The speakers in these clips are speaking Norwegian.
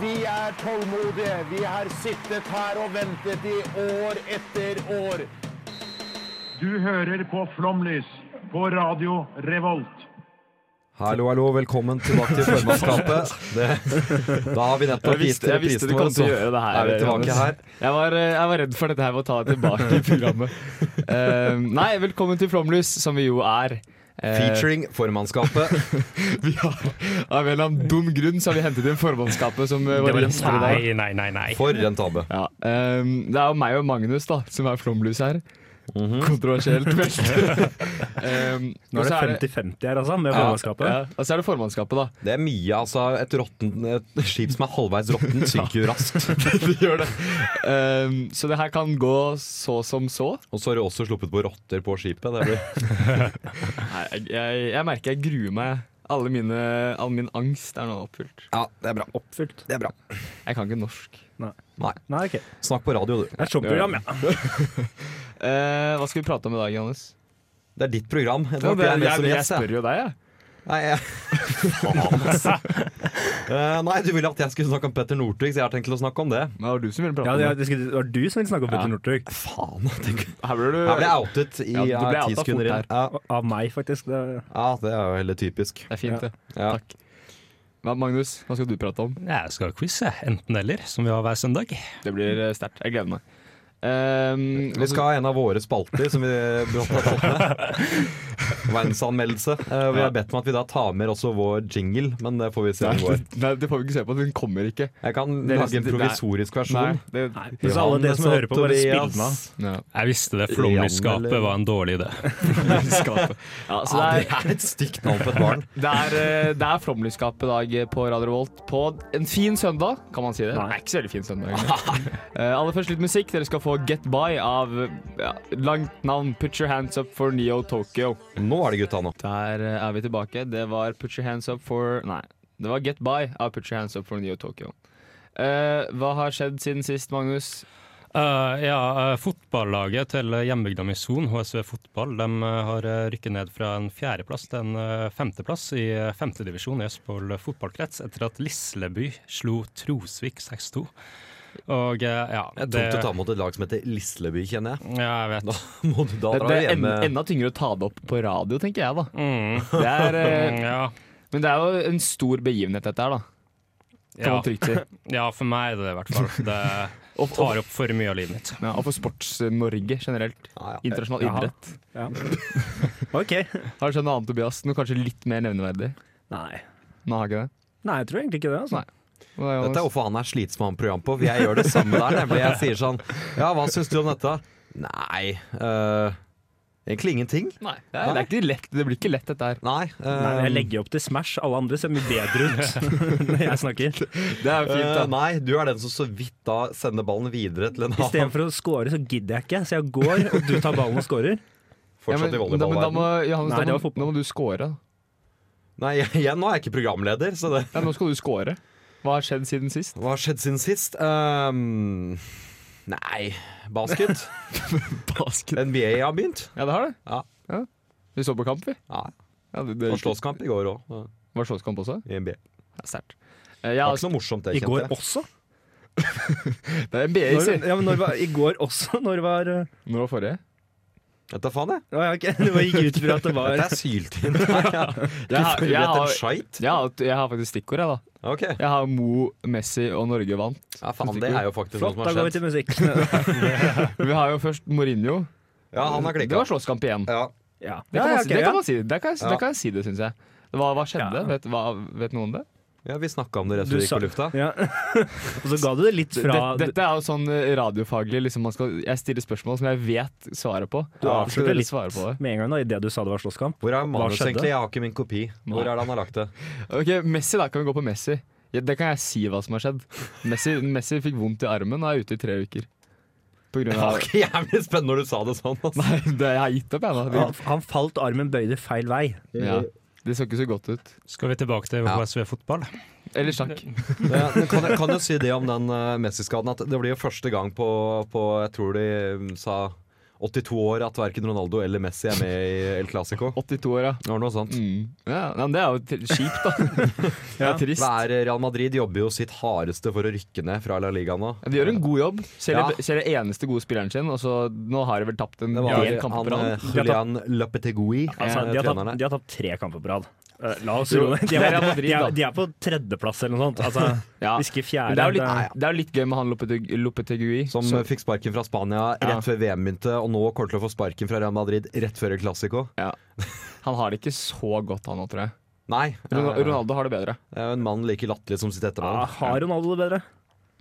Vi er tålmodige. Vi har sittet her og ventet i år etter år. Du hører på Flomlys på Radio Revolt. Hallo, hallo, velkommen tilbake til formannskapet. Det, da har vi nettopp Jeg gitt visste, dere jeg visste prisen du vår, kom til så å gjøre det her. er vi tilbake Johannes. her. Jeg var, eh, jeg var redd for dette her med å ta det tilbake i programmet. Eh, nei, velkommen til Flomlys, som vi jo er. Eh, Featuring formannskapet. vi har, av en eller annen dum grunn så har vi hentet inn formannskapet som eh, Det var var gjest her i dag. Nei, nei, nei. nei. For en tabbe. Ja, eh, det er jo meg og Magnus da, som er Flomlys her. Mhm. Kontroversielt velt. um, Nå er det 50-50 her, altså, med formannskapet. Ja, og så er det formannskapet, da. Det er mye, altså. Et, rotten, et skip som er halvveis råttent, synker jo raskt. Det gjør det. Eh, så det her kan gå så som så. Og så har du også sluppet på rotter på skipet. Det blir Nei, jeg, jeg, jeg merker jeg gruer meg. Alle mine, all min angst er nå oppfylt. Ja, det er bra. Oppfylt. Det er bra. Jeg kan ikke norsk. Nei, Nei, ok. snakk på radio, du. Det er et sånt program, ja. Eh, hva skal vi prate om i dag, Johannes? Det er ditt program. Ja, Edvard. det, Jeg er med jeg, som jeg, gjest, jeg. spør jo deg, jeg. Nei, jeg... Faen, altså. Eh, nei, du ville at jeg skulle snakke om Petter Northug, så jeg har tenkt til å snakke om det. Men det var du som ville prate ja om det, det. var- det skulle- det var du som ville snakke om Petter Ja. Northug. Faen, tenk. Her ble du Her ble jeg outet i Ja, du ble ja, outa ti fort sekunder her. inn. Ja, Av meg, faktisk. Det, ja, det er jo heller typisk. Det er fint, det. Ja. Takk. Hva, Magnus, hva skal du prate om? Nei, Jeg skal ha quiz, jeg. Enten eller, som vi har hver søndag. Det blir eh, sterkt. Jeg gleder meg. Ehm, Vi skal ha en av våre spalter som vi brått har tatt med. Verdensanmeldelse. Eh, Vi har bedt om at vi da tar med også vår jingle, men det får vi se Nei, om går. det- nei, det får vi ikke se på. Den kommer ikke. Jeg kan Det er lage en nesten- provisorisk versjon. Nei, det, hvis alle dere som hører på, bare spill den av. Tobias. ja. Jeg visste det. Jan, Flomlysskapet eller- var en dårlig idé. Ja, så Ja, det det er, er et stygt navn på et barn. det er, eh, det er flomlysskap i dag eh, på Radio Revolt på en fin søndag, kan man si det. Nei. Det er ikke så veldig fin søndag. egentlig. Eh, aller først litt musikk. Dere skal få Get By av ja, langt navn Put Your Hands Up for Neo Tokyo. Nå er det gutta nå. Der eh, er vi tilbake. Det var Put Your Hands Up for Nei, det var Get By av Put Your Hands Up for Neo Tokyo. Eh, hva har skjedd siden sist, Magnus? Eh, ja, eh, fotballaget til hjembygda mi Son, HSV Fotball, de eh, har eh, rykket ned fra en fjerdeplass til en eh, femteplass i eh, femtedivisjon i Østfold fotballkrets etter at Lisleby slo Trosvik 6-2. Og eh, ja Det er tungt å ta mot et lag som heter Lisleby, kjenner jeg. Ja, jeg vet. Da må du da Det, dra det er en, hjemme. enda tyngre å ta det opp på radio, tenker jeg, da. Mm. Det er, eh, Ja, men det er jo en stor begivenhet, dette her, da. Kan ja, man trygt si. ja, for meg er det det, i hvert fall. Det Og, og, tar opp for mye av livet mitt. ja, og for Sports-Norge generelt. Ja, ja. Internasjonal Jaha. idrett. Ja. OK. Har du skjønt noe annet, Tobias? Noe kanskje litt mer nevneverdig? Nei. Nå har jeg ikke det. Nei, jeg tror egentlig ikke det. altså. Nei. Dette Hva er er Johannes? hvorfor han er slitsom med program på. for Jeg gjør det samme der. Nemlig jeg sier sånn Ja, hva syns du om dette? Nei øh, Egentlig ingenting. Nei, det, er, det, er ikke lett. det blir ikke lett, dette her. Nei. øh, Nei, men jeg legger jo opp til Smash. Alle andre ser mye bedre ut når jeg snakker. Det er fint, øh, nei, du er den som så vidt da sender ballen videre til en annen. Istedenfor å score, så gidder jeg ikke. Så jeg går, og du tar ballen og scorer. Fortsatt i men, da, men da må, volleyballverden. Johannes, Nei, da, det var må, da må du score. da. Nei, igjen, nå er jeg ikke programleder, så det Ja, nå skal du score. Hva har skjedd siden sist? Hva har skjedd siden sist? Øhm, nei Basket. Basket. NBA har begynt. Ja, det har det. Ja. Vi så på kamp, vi. ja Ja, det, det det, var slåsskamp i går òg. var slåsskamp også? NBA. Det Ja, Sterkt. Eh, Jeg var har ikke noe morsomt, det. I går kjente jeg. også. Det er NBA, Når, sier ja, men når var, I går også. Når var uh, Når var forrige? Vet da faen, jeg. Ja, ja, ok. Det bare gikk ut fra at det var Dette er sånn syltynn. Jeg har Jeg ikke har, jeg forberedt en har, skeit. jeg har, jeg har faktisk stikkord, jeg, da. Ok. Jeg har Mo, Messi og Norge vant. Ja, faen, det er jo faktisk Flott, noe da som har går vi skjedd. til musikk. Vi har jo først Mourinho. Ja, han har Det klikka. var slåsskamp igjen. Ja. Ja, Det kan, ja, man, ok, si- det ja. kan man si. Det kan, jeg- Ja. det kan jeg si det, syns jeg. Hva, hva skjedde? Ja. Vet, hva, vet noen det? ja, vi snakka om det rett Du før vi gikk sa- på lufta. Ja. og så ga du det litt fra Dette, dette er jo sånn eh, radiofaglig liksom man skal, Jeg stiller spørsmål som jeg vet svaret på. Du Ja, skal avslørte dere litt svare på det. med en gang da, idet du sa det var slåsskamp. Hvor er manus, skjedde? egentlig? Jeg har ikke min kopi. Hvor er det han har lagt det? Ok, Messi, da. Kan vi gå på Messi? Ja, det kan jeg si hva som har skjedd. Messi, Messi fikk vondt i armen og er ute i tre uker. På grunn av var ikke jævlig spennende når du sa det sånn. Altså. Nei, det, jeg har gitt opp, jeg nå. Han, han falt, armen bøyde feil vei. Ja. Det så ikke så godt ut. Skal vi tilbake til Ja. HSV fotball? Eller sjakk. Ja, men kan, jeg- kan jeg si det om den eh, Messi-skaden? At det blir jo første gang på, på jeg tror de mm, sa 82 år at verken Ronaldo eller Messi er med i El Clásico. 82 år, ja. Det var noe sånt. Mm. ja. Nei, men det er jo t- kjipt, da. Det er trist. Hver eh, Real Madrid jobber jo sitt hardeste for å rykke ned fra La Liga nå. Eh, De gjør en god jobb. Selger, Ja. selger eneste gode spilleren sin, og så nå har de vel tapt en Det var del kamper han, på rad. eh, Julian Lopetegui, Altså, eh, de, har tatt, treneren de her. har tatt tre kamper på rad. Eh, La oss Jo, roe ned. det De, er er- Real Madrid, de, er- da. de er på tredjeplass eller noe sånt. Altså, Ja. hvis ikke Men fjerde. eh, det er jo litt, det er- det er jo litt gøy med han Lopeteg- Lopetegui. Som så- eh, fikk sparken fra Spania Ja. rett før VM begynte, og nå kommer til å få sparken fra Real Madrid rett før El Clásico. ja. Han har det ikke så godt, han nå, tror jeg. Nei. Ron- eh, Ronaldo har det bedre. Det er jo en mann like latterlig som sitt Ja, etternavn. har Ronaldo det bedre?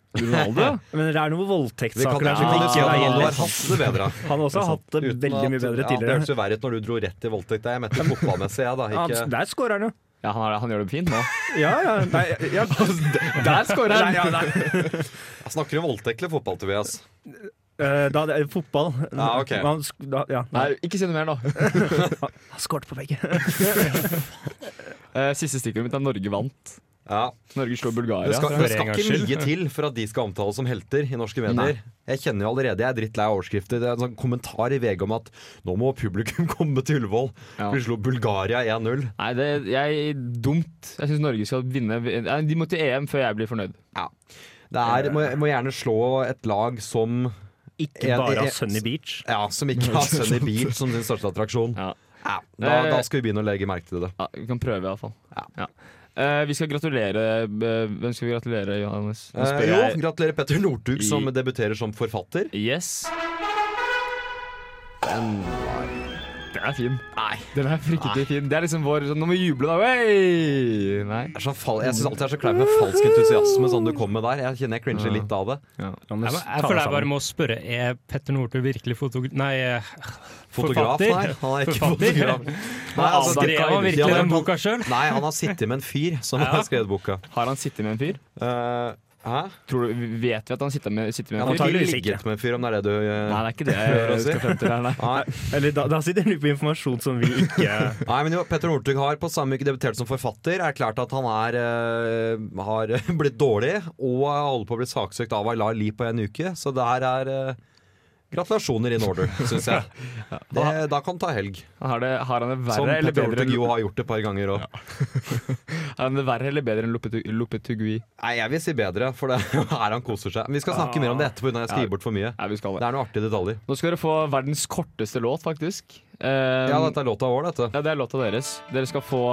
Ronaldo, ja. Men det er noen Vi kan voldtektssaker der ikke som si at ikke veier Ronaldo har lett. hatt det bedre. Han også har hatt det Uten veldig mye at- bedre Ja, det tidligere. hørtes jo verre ut når du dro rett i voldtekt. Jeg mente fotballmessig, jeg, da. Ja, Ikke der skårer han jo. ja han, har, det- han gjør det fint nå. Ja, ja. Nei, ja. Der scorer han! Nei, ja, nei. Jeg snakker om voldtekt eller fotball, Tobias. Eh, Da, det er fotball. Ja, ok. Han sk- da, ja. Nei, ikke si noe mer nå. Han skårte på begge. Eh, Siste stikkordet mitt er Norge vant. Ja. Norge slo Bulgaria. Det skal, for det en skal gangs ikke skyld. mye til for at de skal omtales som helter i norske medier. Jeg kjenner jo allerede, jeg er drittlei av overskrifter. Det er en sånn kommentar i VG om at nå må publikum komme til Ullevål. Ja. Vi slo Bulgaria 1-0. Nei, det jeg, dumt. Jeg syns Norge skal vinne. Nei, De må til EM før jeg blir fornøyd. Det er, må, må gjerne slå et lag som Ikke En- bare en- av Sunny Beach. ja, som ikke har Sunny Beach som sin største attraksjon. Ja. Ja, da, Eh. da skal vi begynne å legge merke til det. Ja, vi kan prøve, iallfall. Ja. Ja. Eh, vi skal gratulere eh, Hvem skal vi gratulere, Johannes? Nå Eh, spør jo, jeg- gratulerer Petter Northug I- som debuterer som forfatter. Yes. Den er fin. Nei. Den er fryktelig fin. Det er liksom vår sånn, Nå må vi juble, da. Wey! Nei. Det er så fal- jeg syns alltid det er så kleint med falsk entusiasme sånn du kom med der. Jeg kjenner jeg cringer litt av det. Jeg, jeg føler jeg bare må spørre Er Petter Northug virkelig fotog... Nei, eh, Fotograf? forfatter? Nei, han er ikke Forfatter? fotograf. Nei, altså, Skrev det- han virkelig Ja, den men- boka selv? Nei, han har sittet med en fyr som har skrevet boka. Har han sittet med en fyr? Eh, hæ? Tror du, vet vi at han sitter med, sitter med Han en har fyr? antakeligvis ligget med en fyr, om det er det du eh, Nei, det er ikke det jeg Prøver å skal frem til her, nei. Nei. Eller da, da sitter du på informasjon som vi ikke Nei, men jo, Petter Northug har på samme uke debutert som forfatter. Erklært at han er, eh, har blitt dårlig og holder på å bli saksøkt av Aylar Lie på en uke. Så det her er eh, gratulasjoner in order, syns jeg. Det, da kan han ta helg. Har, det, har han det Som verre eller Petter bedre Northug enn jo har gjort et par ganger òg. Er han det verre eller bedre enn Lopetu- Lopetugui? Nei, jeg vil si bedre, for det er her han koser seg. Men vi skal Ah. snakke mer om det etterpå, uten at jeg skal gi bort for mye. Nei, vi skal Det er noen artige detaljer. Nå skal dere få verdens korteste låt, faktisk. Eh, Ja, dette er låta vår, dette. ja, det er låta deres. Dere skal få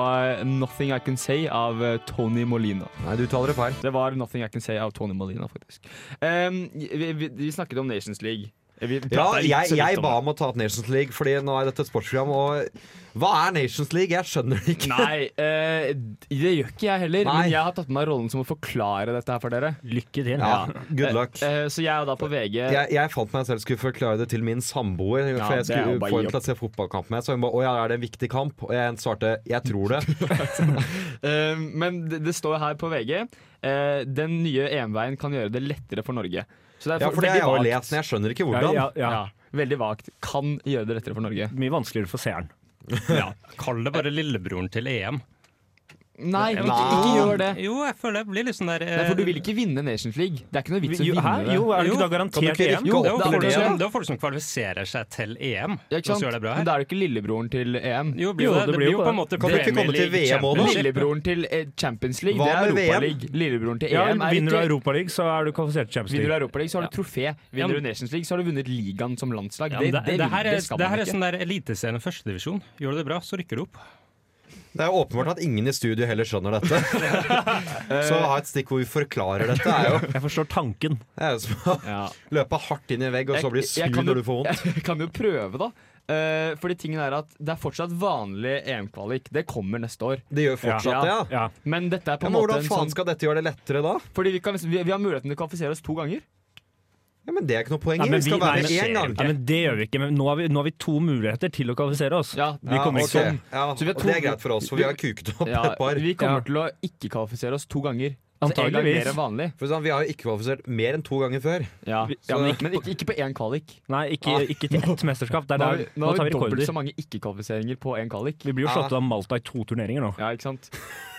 eh, 'Nothing I Can Say' av eh, Tony Molina. Nei, du uttaler det feil. Det var 'Nothing I Can Say' av Tony Molina, faktisk. Eh, vi, vi, vi snakket om Nations League. Eh, Vi Ja, pratet litt- jeg, så jeg litt om ba det. om å ta opp Nations League, fordi nå er dette et sportsprogram, og hva er Nations League? Jeg skjønner det ikke. Nei, eh, det gjør ikke jeg heller. Nei. Men jeg har tatt med meg rollen som å forklare dette her for dere. Lykke til. Ja, good luck. Eh, eh, så jeg er da på VG. Jeg, jeg fant meg selv skulle forklare det til min samboer. Ja, For jeg det er jo skulle bare få jobb. henne til å se fotballkamp med. Så hun ba, å ja, er det en viktig kamp? Og jeg svarte jeg tror det. Eh, men det, det står her på VG eh, Den nye EM-veien kan gjøre det lettere for Norge. Så det er Ja, for det har jeg veldig jo vagt. lest, men jeg skjønner ikke Ja, hvordan. ja, ja. Ja, veldig vagt. Kan gjøre det lettere for Norge. Mye vanskeligere for seeren. Kall det bare lillebroren til EM. Nei, Nei. Ikke, ikke gjør det. Jo, jeg føler jeg blir litt sånn der eh, Nei, for du vil ikke vinne Nations League. Det er ikke noe vits å Jo, vinne hæ? det. jo, er det Jo. ikke da Kan du garantert ikke EM? rykke Jo, eh, det opp det er, jo er folk det. som, det er folk som kvalifiserer seg til EM. Ja, Hvis ikke du sant? gjør det bra Men her. det er jo ikke lillebroren til EM. Jo, blir Jo, jo, det, det blir jo på en måte det- Kan du ikke komme til League, VM også, da? Champions League. Lillebroren til eh, Champions League, Hva det er med Europa VM? League. Lillebroren til EM Ja, er vinner du ikke Europaligaen, så er du kvalifisert til Champions Vinner du League. Europaligaen, så har du trofé. Ja, Vinner men- du Nations League, så har du vunnet ligaen som landslag. Ja, det, men det, det, her er, skal det man her er ikke. sånn der Eliteserien førstedivisjon. Gjør du det bra, så rykker du opp. Det er jo åpenbart at ingen i studio heller skjønner dette. Så å ha et stikk hvor vi forklarer dette, er jo, Jeg forstår tanken. det er jo som å Ja. løpe hardt inn i en vegg og så bli sur Jeg- jeg kan jo- når du får vondt. Jeg kan jo prøve, da. Eh, fordi tingen er at Det er fortsatt vanlig EM-kvalik. Det kommer neste år. Det gjør fortsatt det, ja. ja. Ja. Men dette er på en Men måte hvordan en faen sånn skal dette gjøre det lettere da? Fordi vi, kan, liksom- vi, vi har muligheten til å kvalifisere oss to ganger. Ja, men Det er ikke noe poeng. Nei, i. men vi skal vi- nei, være med men- én gang. Ja, men det gjør vi ikke. Men nå har vi, nå har vi to muligheter til å kvalifisere oss. Ja, Vi kommer ikke ok. sånn. ja, Så vi har og to- det er greit for oss, for vi har kuket opp ja et par. Vi kommer Ja. til å ikke kvalifisere oss to ganger. Antageligvis. Antageligvis. Mer enn vanlig. For sånn, Vi har jo ikke kvalifisert mer enn to ganger før. Ja. Ja, men men ikke- ikke, ikke på én kvalik. Nei, ikke, Ah. ikke til ett mesterskap. Det Nå er der, har vi, nå nå har tar vi vi dobbelt rekorder. så mange ikke-kvalifiseringer på én kvalik. Vi blir jo slått av Malta i to turneringer nå. Ja, ikke sant?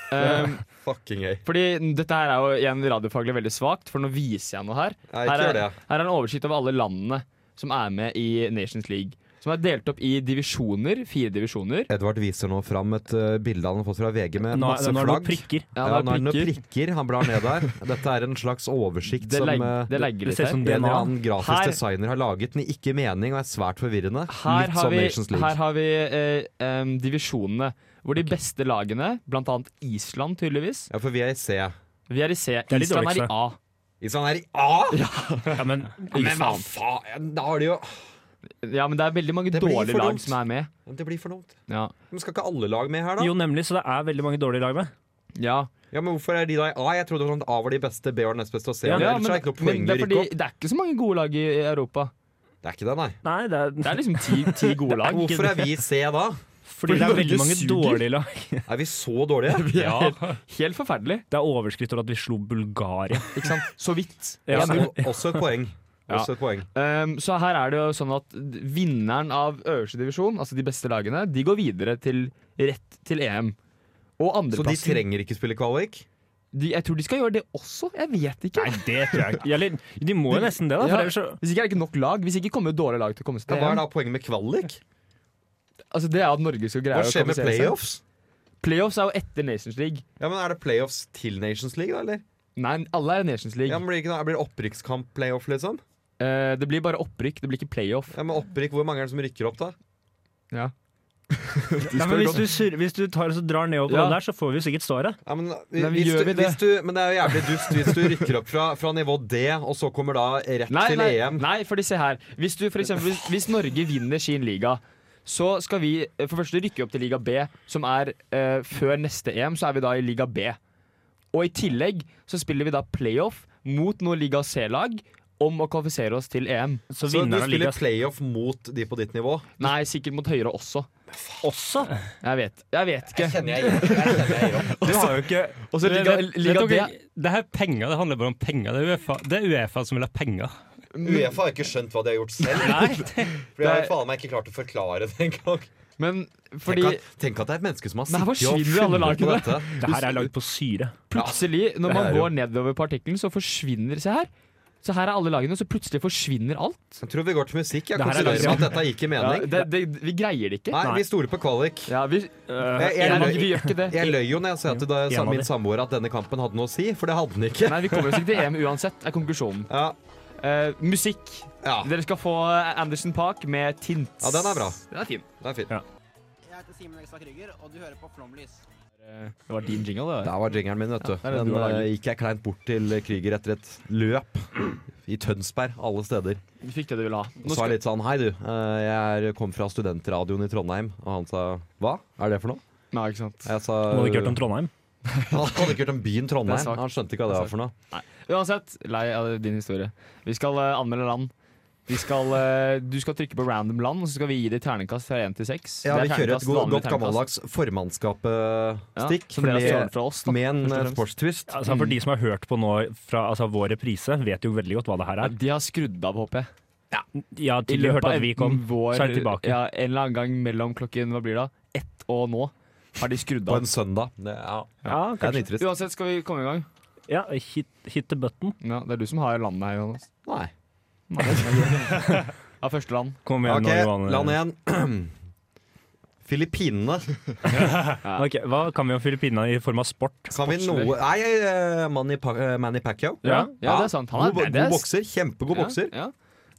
Um, Fucking gøy. fordi dette her er jo igjen radiofaglig veldig svakt, for nå viser jeg noe her. Nei, Her ikke gjør er, det. her er en oversikt over alle landene som er med i Nations League. Som er delt opp i divisjoner, fire divisjoner. Edvard viser nå fram et eh, bilde han har fått fra VG med Nå, masse nå er det noen flagg. prikker. Ja, Ja, nå er det det, noen er prikker. prikker han blar ned der. Dette er en slags oversikt det, som legg, eh, det legger Det litt ser ut her. som en eller DNA. annen grafisk Her- designer har laget den i ikke mening og er svært forvirrende. Her Litt har sånn vi, Nations League. her har vi eh, em, divisjonene. Hvor de beste lagene, blant annet Island tydeligvis Ja, for vi er i C. Vi er i C. er de Island er i dårligste. A. Island er i A! Ja, men men hva faen? Da har de jo Ja, men det er veldig mange Det blir for dårlige lag dumt. som er med. Det blir for dumt. Ja. Men skal ikke alle lag med her, da? Jo, nemlig, så det er veldig mange dårlige lag med. ja. Ja, men Hvorfor er de da i A? Jeg trodde det var sånn at A var de beste, B var den nest beste og C. Ja, var det. men, Ellers er det ikke noe men poeng å det, er rykke fordi, opp. det er ikke så mange gode lag i i Europa. Det er ikke det, nei. Nei, det er, Det er liksom ti, ti gode lag. Hvorfor er vi i C da? fordi det er Norge veldig mange suger. dårlige lag. Er vi så dårlige? Ja, Helt forferdelig. Det er overskritt over at vi slo Bulgaria. Ikke sant? Så vidt. Ja, Også, også et poeng. Ja. Også et poeng. Ehm, så her er det jo sånn at d- vinneren av øverste divisjon, altså de beste lagene, de går videre til rett til EM. Og Så de andreplassen de trenger ikke spille kvalik? Jeg tror de skal gjøre det også. Jeg vet ikke. Nei, det tror jeg ikke. Eller, de må jo nesten det, da. Ja. For ellers så Hvis ikke er det ikke nok lag. Hvis ikke kommer jo dårlige lag til å komme seg Ja, til hva er EM. da poenget med kvalik? Altså, det er at Norge skal greie Hva skjer med kvalifisere seg. playoffs? Playoffs er jo etter Nations League. Ja, men Er det playoffs til Nations League, da? eller? Nei, alle er i Nations League. Ja, men blir, det ikke, blir det opprykkskamp-playoff, liksom? Eh, det blir bare opprykk, det blir ikke playoff. Ja, men opprykk, Hvor mange er det som rykker opp, da? Ja. Nei, men hvis, du, surrer- hvis du tar, så drar nedover på Ja. den der, så får vi jo sikkert svaret. Ja, men, eh, Men vi hvis gjør du, vi det? Hvis du, men det er jo jævlig dust hvis du rykker opp fra, fra nivå D, og så kommer da rett Nei, til nei, EM. nei, for se her. Hvis, du, for eksempel, hvis, hvis Norge vinner sin liga, så skal vi eh, for det første rykke opp til liga B, som er eh, før neste EM, så er vi da i liga B. Og i tillegg så spiller vi da playoff mot noen liga C-lag om å kvalifisere oss til EM. Så Så du vinneren av spiller ligaen playoff mot de på ditt nivå? Nei, sikkert mot høyre også. også. Jeg vet, jeg vet ikke. Kjenner jeg gir opp. Du har jo ikke Og så Det, liga, det, liga det, D det her er penger, det handler bare om penger. Det er Uefa, det er UEFA som vil ha penger. Uefa har ikke skjønt hva de har gjort selv. For de har jo faen meg ikke klart å forklare det engang. Men Tenk, fordi at- tenk at det er et menneske som har Men her sittet og forsvinner alle funnet på lagene. dette. Det her er lagd på syre. plutselig, når det man er jo- går nedover partikkelen, så forsvinner Se her. Så her er alle lagene, så plutselig forsvinner alt. Jeg tror vi går til musikk. Jeg Det her er konstaterer liksom- at dette gikk i Ja, mening. det, det, vi greier det ikke. Nei, vi stoler på kvalik. Ja, vi, Eh, eh, Jeg, jeg, jeg, vi gjør ikke det. jeg løy jo når jeg sa til da- en av min de. samboer at denne kampen hadde noe å si, for det hadde den ikke. Nei, Vi kommer oss ikke til EM uansett, er konklusjonen. Ja, Eh, musikk. ja Dere skal få eh, Anderson Park med Tint. Ja, den er bra. Den er fin. det er fint. Jeg heter Simen Ekstad Krüger, og du hører på Flomlys. Det var din jingle, det. Der var jingeren min, vet du. er det Den du har laget. eh, gikk jeg kleint bort til Krüger etter et løp i Tønsberg, alle steder. Du fikk det du ville ha. Og Nå så er skal, det litt sånn Hei, du. eh, Jeg er- kom fra studentradioen i Trondheim. Og han sa Hva er det for noe? nei, ikke sant. Jeg sa Må du ikke hørt om Trondheim? Han hadde ikke hørt om byen Det er Trondheim. svakt. Han skjønte ikke hva det Det var er for noe. Uansett, lei av din historie. Vi skal eh, anmelde land. Vi skal, eh, du skal trykke på random land, og så skal vi gi det terningkast fra én til seks. Ja, Det vi er kjører et terningkast, godt, vanlig godt terningkast. gammeldags Ja, formannskapsstikk. som dere har stjålet fra oss, da. med en først og eh, fremst. sportstvist. Altså, for de som har hørt på nå fra altså, vår reprise, vet jo veldig godt hva det her Ja, er. de har skrudd av, håper jeg. Ja, til de hørte at vi kom, så er de tilbake. Ja, En eller annen gang mellom klokken hva blir det, da? ett og nå har de skrudd På av. en søndag. Det, ja, Ja, det er kanskje. litt trist. Uansett, skal vi komme i gang? Ja, hit, hit the button. Ja, Det er du som har landet her, Jonas. Nei. Av første land. Kom igjen Ok, nå, Johan. land igjen. Filippinene. Ok, Hva kan vi om Filippinene i form av sport? Kan vi noe Nei, eh, Manny, pa eh, Manny Pacquiao. Ja, ja, det er sant. Han er god, god badass. bokser. Kjempegod bokser. Ja,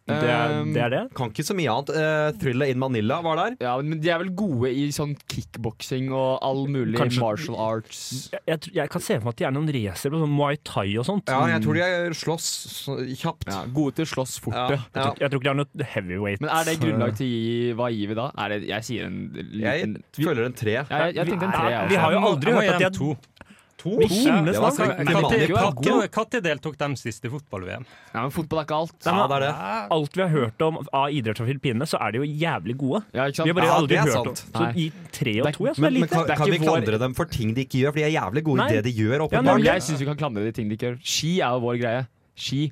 Det er ehm, det? Er det? Kan ikke så mye annet. Eh, Thriller in Manila var der. Ja, men de er vel gode i sånn kickboksing og all mulig Kanskje- martial arts. Jeg, jeg, tror- jeg kan se for meg at de er noen racer på sånn Muay Thai og sånt. Ja, jeg tror de slåss så- kjapt. Ja, gode til å slåss fort, Ja, ja. ja. Jeg tror ikke de har noe heavyweight. Men er det grunnlag til å gi Hva gir vi da? Er det, jeg sier en liten Jeg føler en tre. Ja, jeg, jeg tenkte en tre, altså. Nei, jeg vi også. har jo Jeg må- aldri jeg må hørt at gi de dem har to. To? Mikkel, Det var snakk om- ikke vanlig. Mikkel, Pakke- god. Når deltok de sist i fotball-VM? Ja, men fotball er ikke alt. Nei, Ja, men det er det. Alt vi har hørt om av idretter fra Filippinene, så er de jo jævlig gode. Ja, ikke Vi har sant? bare Ja, aldri det er hørt sant. om Så Nei. i tre og Det er- to, ja, Men, så det er men lite. kan, Det er kan vi ikke vår- klandre dem for ting de ikke gjør? For de er jævlig gode Nei. i det de gjør, Ja, Men åpenbart. jeg syns vi kan klandre de ting de ikke gjør. Ski er jo vår greie. Ski.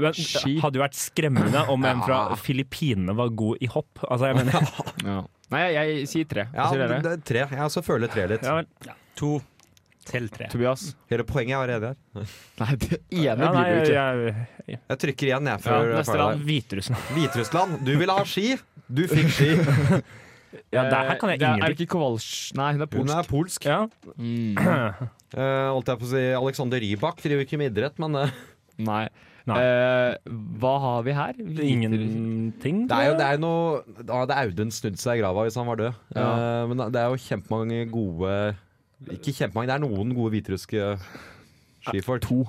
Men Ski. det hadde jo vært skremmende om en fra Ja. Filippinene var god i hopp. Altså, jeg mener Nei, jeg, jeg sier tre. Hva Ja, sier dere? det er tre. Jeg også føler tre litt. ja, vel. To til tre. Tobias? Hele poenget er allerede her. Nei, det ene ja, nei, blir det jo ikke. jeg, jeg, Jeg trykker igjen, jeg, Ja, før jeg er neste ferdig land. der. Hviterussland. Hviterussland, du ville ha ski. Du fikk ski. Ja, det her kan jeg Eh, Det er- ingenting. Er det ikke Kowalsj... Nei, hun er Hun polsk. er polsk. Ja. Mm. Eh, holdt jeg på å si Alexander Rybak driver ikke med idrett, men eh, Nei. Nei. Eh, hva har vi her? Hviteruss- Ingenting? det er jo det er noe Da hadde Audun snudd seg i grava hvis han var død. Eh, men det er jo kjempemange gode Ikke kjempemange, det er noen gode hviterussiske skifolk. To.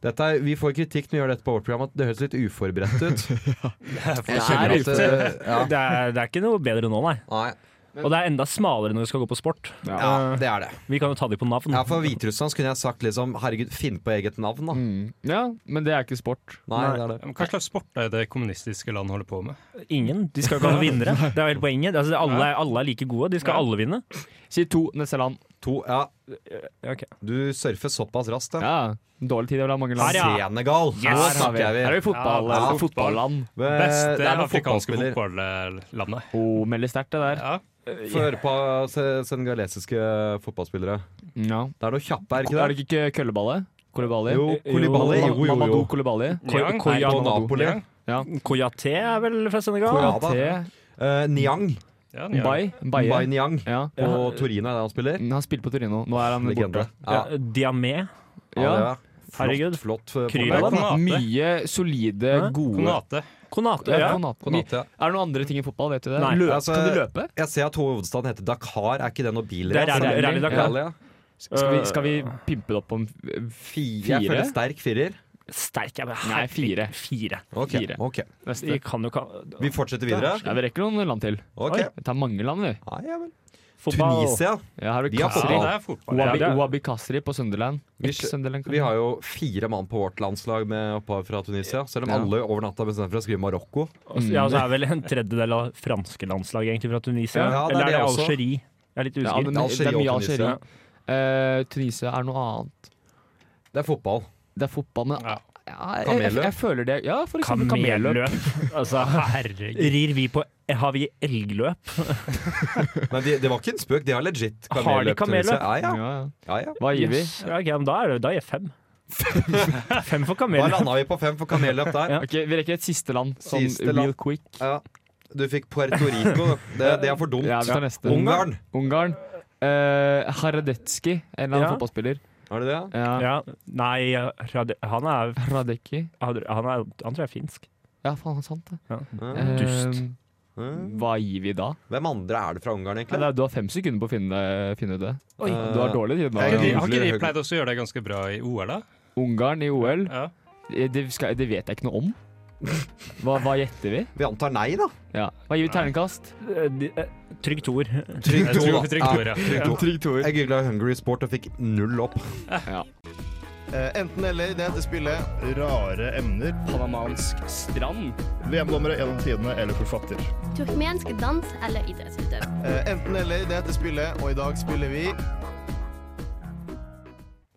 Dette er, vi får kritikk når vi gjør dette på vårt program, at det høres litt uforberedt ut. Jeg kjenner at, eh, ja, Det er, det er ikke noe bedre nå, nei. nei, Og det er enda smalere når vi skal gå på sport. ja, det er det. Vi kan jo ta de på navn. Ja, For Hviterussland så kunne jeg sagt liksom Herregud, finn på eget navn, da. Mm. Ja, men det er ikke sport. Nei, det er det. Men Hva slags sport er det kommunistiske land holder på med? Ingen. De skal jo ikke alle vinnere. Det er jo hele poenget. Altså, alle, er, alle er like gode. De skal alle vinne. Si to neste land. To, ja, Ja, ok. Du surfer såpass raskt, ja. Ja, Dårlig tid, det er mange land. Her, ja. Senegal! Nå Her har vi. snakker Her er vi. vi fotball, Ja, eller fotballand. Ved- Beste Eh, det er noen eh, afrikanske fotballspiller. fotballandet. Oh, melder sterkt, det der. Ja. Få høre på se- senegalesiske fotballspillere. Ja. Det er noe kjappe, er Er ikke det? det ikke Køllebale? Kolibali? Jo, Kolibali. Jo, jo, Mamadou jo. Kolibali. Niang? Ko- På Nei, Koyan- Napoli. Niang. Koyate er vel fra Senegal? Koyate. Ja, da. T. Eh, Niang. Ja, Niang. Mbai. Bai Mbaye. Niang. Ja. Og Torino er det han spiller. Han spilte på Torino. Nå er han Legende. borte. Ja, Ja, Diamé. ja, det Ja. er. Herregud. Flott, flott eh, Kryl. fotball, da. Konate. Mye solide, Hæ? gode Konate. Konate. Ja, Ja. Konate. Konate, ja. Er det noen andre ting i fotball? Vet du det? Nei. Løp. Altså, kan du løpe? Jeg ser at hovedstaden heter Dakar. Er ikke det noe Det er bilrace? Rally- Rally- Rally Dakar. Rally, ja. Skal vi, skal vi øh, pimpe det opp om Fire? Jeg føler sterk firer. Sterk. Jeg, Nei, fire. Fire. Ok, Fire. ok. neste? Vi kan jo ka- Vi fortsetter videre. Ja, vi rekker noen land til. Ok. Vi tar mange land, vi. Ja, ja vel. Fotball. Tunisia. Ja, her har vi De har Ja, Kasri. fotball. det er fotball. Wabi, Ja, det- Wabi Kasri på Sunderland. Vi Ex- Sunderland Vi kanskje. har jo fire mann på vårt landslag med opphav fra Tunisia. Selv om Ja. alle over natta bestemte seg for å skrive Marokko. Og så- Ja, og så er vel en tredjedel av franske landslag egentlig fra Tunisia. Mm. Ja, det er Eller er det det også. Algerie? Jeg er litt ja, usikker. men, Algerie Det er mye og Tunisia. Algerie. Eh, Tunisia er noe annet. Det er fotball. Det er fotball, men ja. jeg, jeg, Kamelløp. jeg føler det Ja, for eksempel kamelløp. Kamelløp. Altså, Herregud. rir vi på Har vi elgløp? Nei, det, det var ikke en spøk. De har legit Har de kamelløp. kamelløp? Tunisia. Ja, Ja, ja. ja. ja, ja. Hva gir vi? Yes. Ja, ok, men da er det da gir jeg fem. fem for Da kamelløp. landa vi på fem for kamelløp der. Ok, Vi rekker et siste land, sånn Siste real land. quick. Ja. Du fikk Puerto Rico. Det, det er for dumt. Ja, vi tar neste. Ungarn. Ungarn. Eh, Haradetski, en eller annen Ja. fotballspiller. Er det det? Ja. Ja, nei, Rade- han er, Radecki. han er, han tror jeg er finsk. Ja, faen, sant det. Ja. Eh, Dust. hva gir vi da? Hvem andre er det fra Ungarn, Ja, egentlig? det er- du har fem sekunder på å finne, finne ut det. Oi. Du har dårlig tid nå. Har ikke de- Ja, har ikke de hyggelig. pleid også å gjøre det ganske bra i OL, da? Ungarn i OL, Ja. eh, det, skal, det vet jeg ikke noe om. Hva, hva gjetter vi? Vi antar nei, da. Ja. Hva gir vi terningkast? Eh, de- eh, Trygg Tor. Trygg Jeg to, tror da. Trygg Tor, ja. trygg to. Jeg googla Hungary Sport og fikk null opp. Eh, enten eller, det heter spillet Rare emner. Panamansk strand. VM-dommere gjennom tidene eller forfatter. Turkmensk dans eller idrettsutøver. Eh, enten eller, det heter spillet, og i dag spiller vi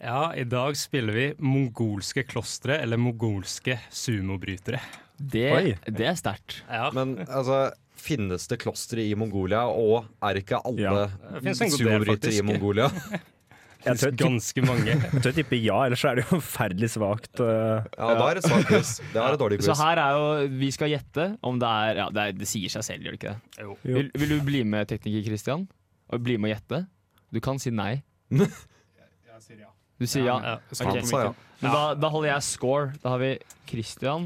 ja, i dag spiller vi mongolske klostre eller mongolske sumobrytere. Det, det er sterkt. Ja, Men altså Finnes det klostre i Mongolia, og er ikke alle Ja. Det finnes en god del, sumobrytere i faktisk. Mongolia? Jeg det tør er ganske mange. jeg tør tippe ja, ellers så er det jo forferdelig svakt. eh. Ja, da er det svak quiz. Det er et dårlig Så quiz. her er jo Vi skal gjette om det er Ja, det, er, det sier seg selv, gjør det ikke det? Jo. Vil, vil du bli med, tekniker Christian? Og bli med og gjette? Du kan si nei. Du sier ja. Ja, Han Ok. sa ja. Men da, da holder jeg score. Da har vi Christian.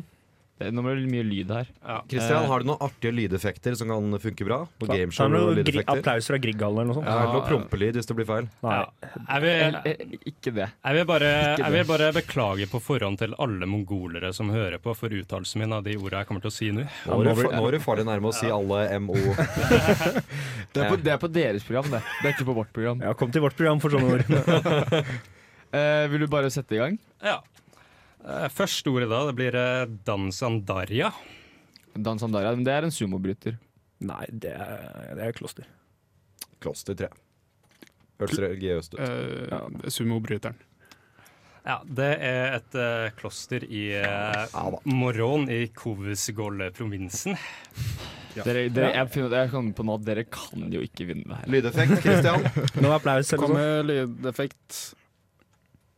Det, nå blir det mye lyd her. Kristian, har du noen artige lydeffekter som kan funke bra? Noen Eh. Er det gameshow noe og gri- lydeffekter? applaus fra Grieghallen eller noe sånt? Ja, eller noe prompelyd hvis det blir feil. Nei. Jeg vil, Eh, eh, Ikke det. jeg, vil bare, Ikke jeg vil bare beklage på forhånd til alle mongolere som hører på, for uttalelsen min av de ordene jeg kommer til å si nå. Nå er du fa- nå er du farlig nærme å si alle MO. Det er, på, det er på deres program, det. Det er ikke på vårt program. Ja, kom til vårt program for sånne ord. Eh, vil du bare sette i gang? Ja. Eh, Første ordet da, det blir eh, dansandaria. Dan Sandaria, men det er en sumobryter. Nei, det er, det er kloster. Kloster 3. Hørtes religiøst ut. Eh, Sumobryteren. Ja, det er et eh, kloster i eh, da. Moron i Kovsgol-provinsen. Dere, dere, jeg, finner, jeg kan på nå at dere kan jo ikke vinne det her. Lydeffekt, Christian. Nå er applaus. eller Kom noe sånt. med lydeffekt.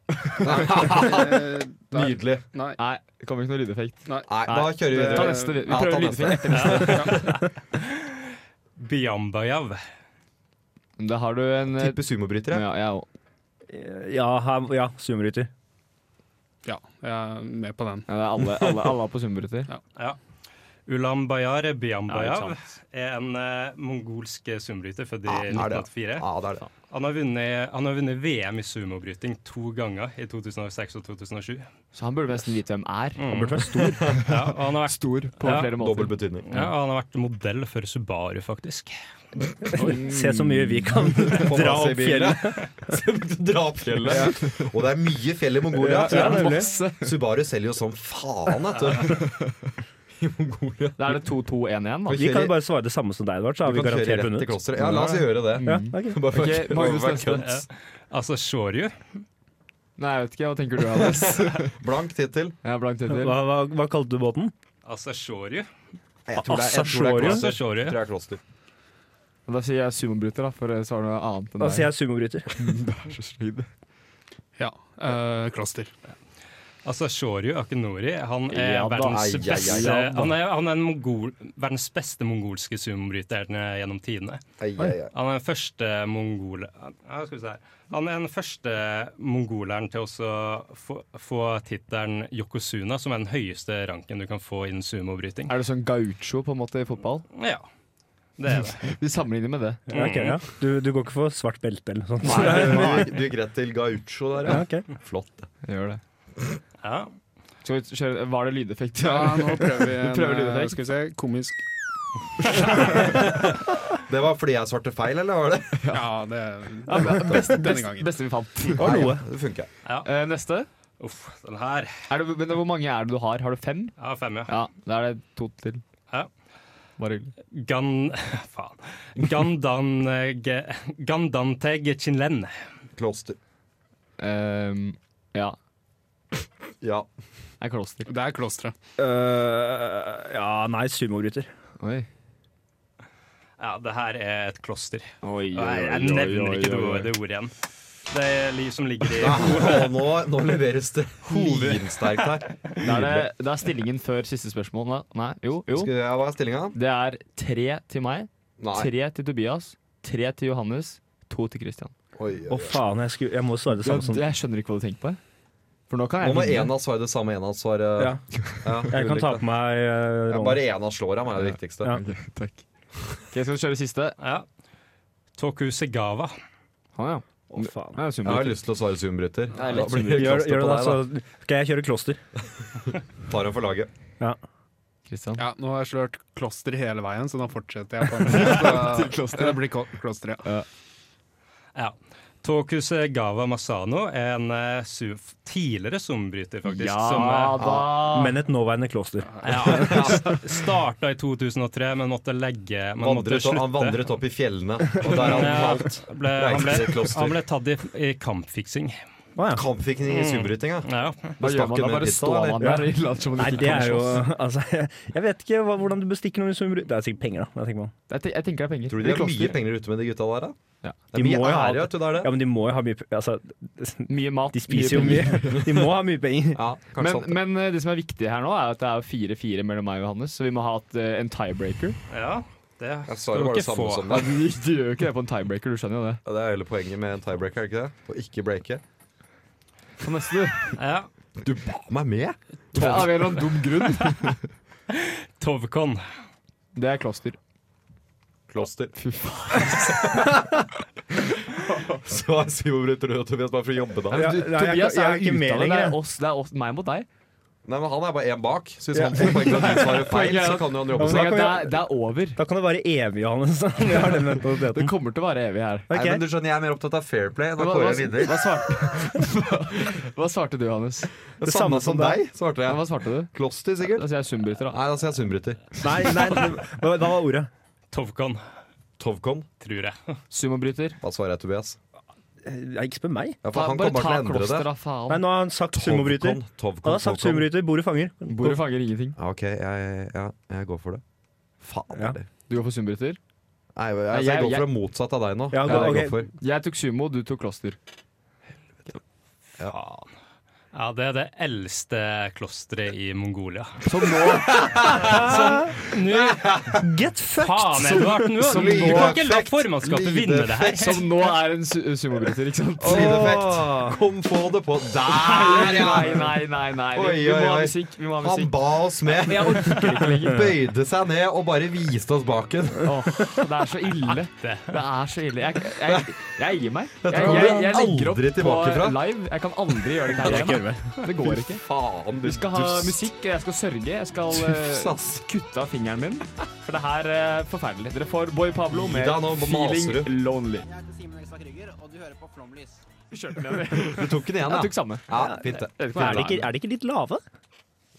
Eh, nei. Nydelig. Nei. Nei, det kommer ikke noe lydeffekt. Nei, da kjører vi Det- Ta videre. neste. Vi Ja, ta prøver neste. lydeffekt etter neste. Biambayav. Da har du en eh, Type sumobrytere. ja, jeg òg. Ja, her- ja sumrytter. Ja, jeg er med på den. Ja, det er alle, alle, alle er på sumobryter. Ulambayar Ja, Biambayav ikke er en eh, mongolsk sumbryter født i Ja, er det. 1984. Ja, det er det. Han har, vunnet, han har vunnet VM i sumobryting to ganger, i 2006 og 2007. Så han burde nesten vite hvem er. Han burde vært stor. ja, og han, har vært, Stor på Ja, flere måter. Dobbel betydning. ja, og han har vært modell for Subaru, faktisk. Se så mye vi kan På dra opp massebilen. fjellet. Dra opp fjellet. Og det er mye fjell i Mongolia. Ja, ja, nemlig. Masse. Subaru selger jo som faen, vet du. I Mongolia. Da er det 2-2-1-1, da. Vi Vi kan kjører- jo bare svare det samme som deg, Edvard, så har vi vi kan kjøre garantert rett til vunnet. klosteret. Ja, la oss gjøre det. Ja, ok. Bare for- Ok, Magnus neste. Ja. Altså Shoryu. Nei, jeg vet ikke. Hva tenker du, Alex? Blank tittel. Jeg har blank tittel. Hva, hva, hva kalte du båten? Altså Shoryu. Jeg tror det er, jeg tror det er Asashoryu? Altså kloster. Jeg tror Shoryu. det er kloster. Da sier jeg sumobryter, da, for å svare noe annet enn Da deg. sier Altså, jeg sumobryter. Ja. eh, kloster. Altså Shoryu Akinori. Han er, Ja da, verdens, ei, ei, ei, beste, ja da. han er, han er en mongol, verdens beste mongolske sumobryteren gjennom tidene. Ei, ei, ei. Han er den første mongol... Ja, skal vi se her. Han er den første mongoleren til også å få, få tittelen yokosuna, som er den høyeste ranken du kan få innen sumobryting. Er det sånn gaucho på en måte i fotball? Ja, det er det. Vi sammenligner med det. Ja, ok, ja. Du, du går ikke for svart belte eller noe sånt? Nei, nei, du gikk rett til gaucho der, Ja, ja. ok. Flott. det. Gjør det. Ja. Skal vi kjøre, var det lydeffekt? ja, nå prøver vi en prøver eh, lydeffekt. skal vi se, komisk Det var fordi jeg svarte feil, eller var det? Ja, det Ja, men beste, Denne beste, gangen. beste vi fant. Nei, ja, det funker. Eh, neste. Uff, den her. Er det, men hvor mange er det du har? Har du fem? Ja, fem, ja. Ja, da er det to til. Ja. Bare hyggelig. Gan... Faen. Gandan... ge- Gandanteg Chinlen. Kloster. Ehm, ja. Ja. Det er kloster. Det er klosteret. Øh, ja, nei, sumobryter. Oi. Ja, det her er et kloster. Oi, Ah. Og jeg, jeg nevner ikke det ordet- det ordet igjen. Det er liv som ligger i Å, nå, nå leveres det linsterkt her. Da er, det, da er stillingen før siste spørsmål. Da. Nei, jo, jo. Skal jeg, hva er stillinga? Det er tre til meg, Nei. tre til Tobias, tre til Johannes, to til Christian. Oi, Å, oi. faen, jeg, skulle, jeg må svare det Ja, samme som det- jeg skjønner ikke hva du tenker på. jeg. For nå kan Nå må jeg en av svare det samme, en av svare Ja. Jeg kan ta på meg øh, Ja, rollen. bare en av slår ham, er det viktigste. Ja. Ok, skal vi kjøre siste? Ja. Tokusegava. Han, ja. Å, faen. Han er Jeg har symbolikk. lyst til å svare zoombryter. Nei, litt Gjør, gjør det, da. da. Så skal jeg kjøre kloster. Tar ham for laget. Christian. Ja, nå har jeg slørt kloster hele veien, så da fortsetter jeg. på den. Så, Det blir ko- kloster, ja. Ja. Tokusegava Masano er en eh, su tidligere sumbryter, faktisk. Ja som Ah, da! Men et nåværende kloster. eh, ja, s- starta i 2003, men måtte legge men måtte Vandret, opp- han slutte. vandret opp i fjellene, og der hadde han Ja, falt. ble, han, Reiste til ble, kloster. han ble tatt i, i kampfiksing. Å, ja. Kampfiksing i zoombrytinga. Ja. Hva gjør man da? Stakken med Bare pistol, står man eller? der og later som man Nei, ikke det kan er jo slåss? Altså, jeg, jeg vet ikke hva, hvordan du bestikker noen sumobryter. Det er sikkert penger, da. Det tenker man. Jeg, te- jeg tenker det er penger. Tror du de Det har mye koster. penger ute med de gutta der, da? Ja. Det De er mye må jo ha ære, det. vet du, det er det. Ja, men de må jo ha mye pe- Altså, Mye mat. de spiser jo penger. mye. De må ha mye penger. Ja, kanskje Men, sant. men eh, det som er viktig her nå, er at det er 4-4 mellom meg og Johannes, så vi må ha et, eh, en tiebreaker. ja, det Jeg sa skal jo du bare det ikke samme få. som deg. Du du gjør jo ikke det på en tiebreaker, du skjønner jo det. Ja, Det er hele poenget med en tiebreaker, er det ikke det? Å ikke breake. Så neste du. Ja. Du ba meg med! Ja, Av en eller annen dum grunn. Tovkon. Det er kloster. Kloster. Fy faen. Så er Simon Brutterud og Tobias bare for å jobbe da. Ja, nei, jeg- Tobias jeg er er jo ute ikke med av det. Det lenger, jeg. er oss, det er oss, meg mot deg. Nei, men han er bare én bak, så hvis han får poeng for at du svarer feil, så kan jo han jobbe Ja, men seg. da kan jeg- Det er over. Da kan det være evig, Johannes. Vi har den mentaliteten. Det kommer til å være evig her. Nei, men du skjønner, Jeg er mer opptatt av fair play enn å Hva- kåre hva- vinner. hva Hva svarte du, Hannes? Det samme som deg, svarte jeg. Hva svarte du? Kloster, sikkert. Da sier Altså, jeg sumbryter, da. Nei, da sier jeg sumbryter. Nei, nei, det- hva hva var ordet? Tovkon, Tovkon. tror jeg. Sumobryter. Hva svarer jeg, Tobias? Eh, Ikke spør meg. Ja, Ta- for han bare kommer til å ta endre det. klostra, faen. Nei, nå har han sagt sumobryter. Tovkon, Han Tovkon, har sagt Tovkon. sumobryter. Bordet fanger. Bordet fanger ingenting. Ja, OK, jeg, ja, jeg går for det. Faen Ja. heller. Du går for sumbryter. Nei, altså, jeg, går jeg- for jeg- det motsatte av deg nå. Ja, Det er det jeg ok. går for. Jeg tok sumo, du tok kloster. Faen. Ja, det er det eldste klosteret i Mongolia. Som nå, Nå, Get fucked! faen, Edvard! Nå, Som du kan ikke la lydeffekt. formannskapet vinne det her. Lydeffekt. som nå er en su sumobryter, ikke sant? Sideeffekt. Kom, få det på. Der, Nei, ja! nei, nei. nei, nei. Oi, Vi må oi, ha oi. musikk. Vi må ha Han musikk. ba oss med. Bøyde seg ned og bare viste oss baken. Åh, det er så ille. Det er så ille. Jeg, jeg, jeg gir meg. Jeg, kommer jeg, jeg vi legger opp aldri på tilbake fra. live. Jeg kan aldri gjøre det her igjen. Det går ikke. Faen, du Vi skal ha dust. musikk, jeg skal sørge, jeg skal Tufs, eh, ass. kutte av fingeren min. For det her er forferdelig. Dere får Boy Pablo Gi med deg nå, nå maser du. Feeling Lonely. Jeg heter Simen Ekstad Krüger, og du hører på Flomlys. Vi kjørte den igjen. Du tok den Jeg igjen, tok samme. ja? ja fint, det. Jeg vet ikke Er hva de, det ikke, er de ikke litt lave?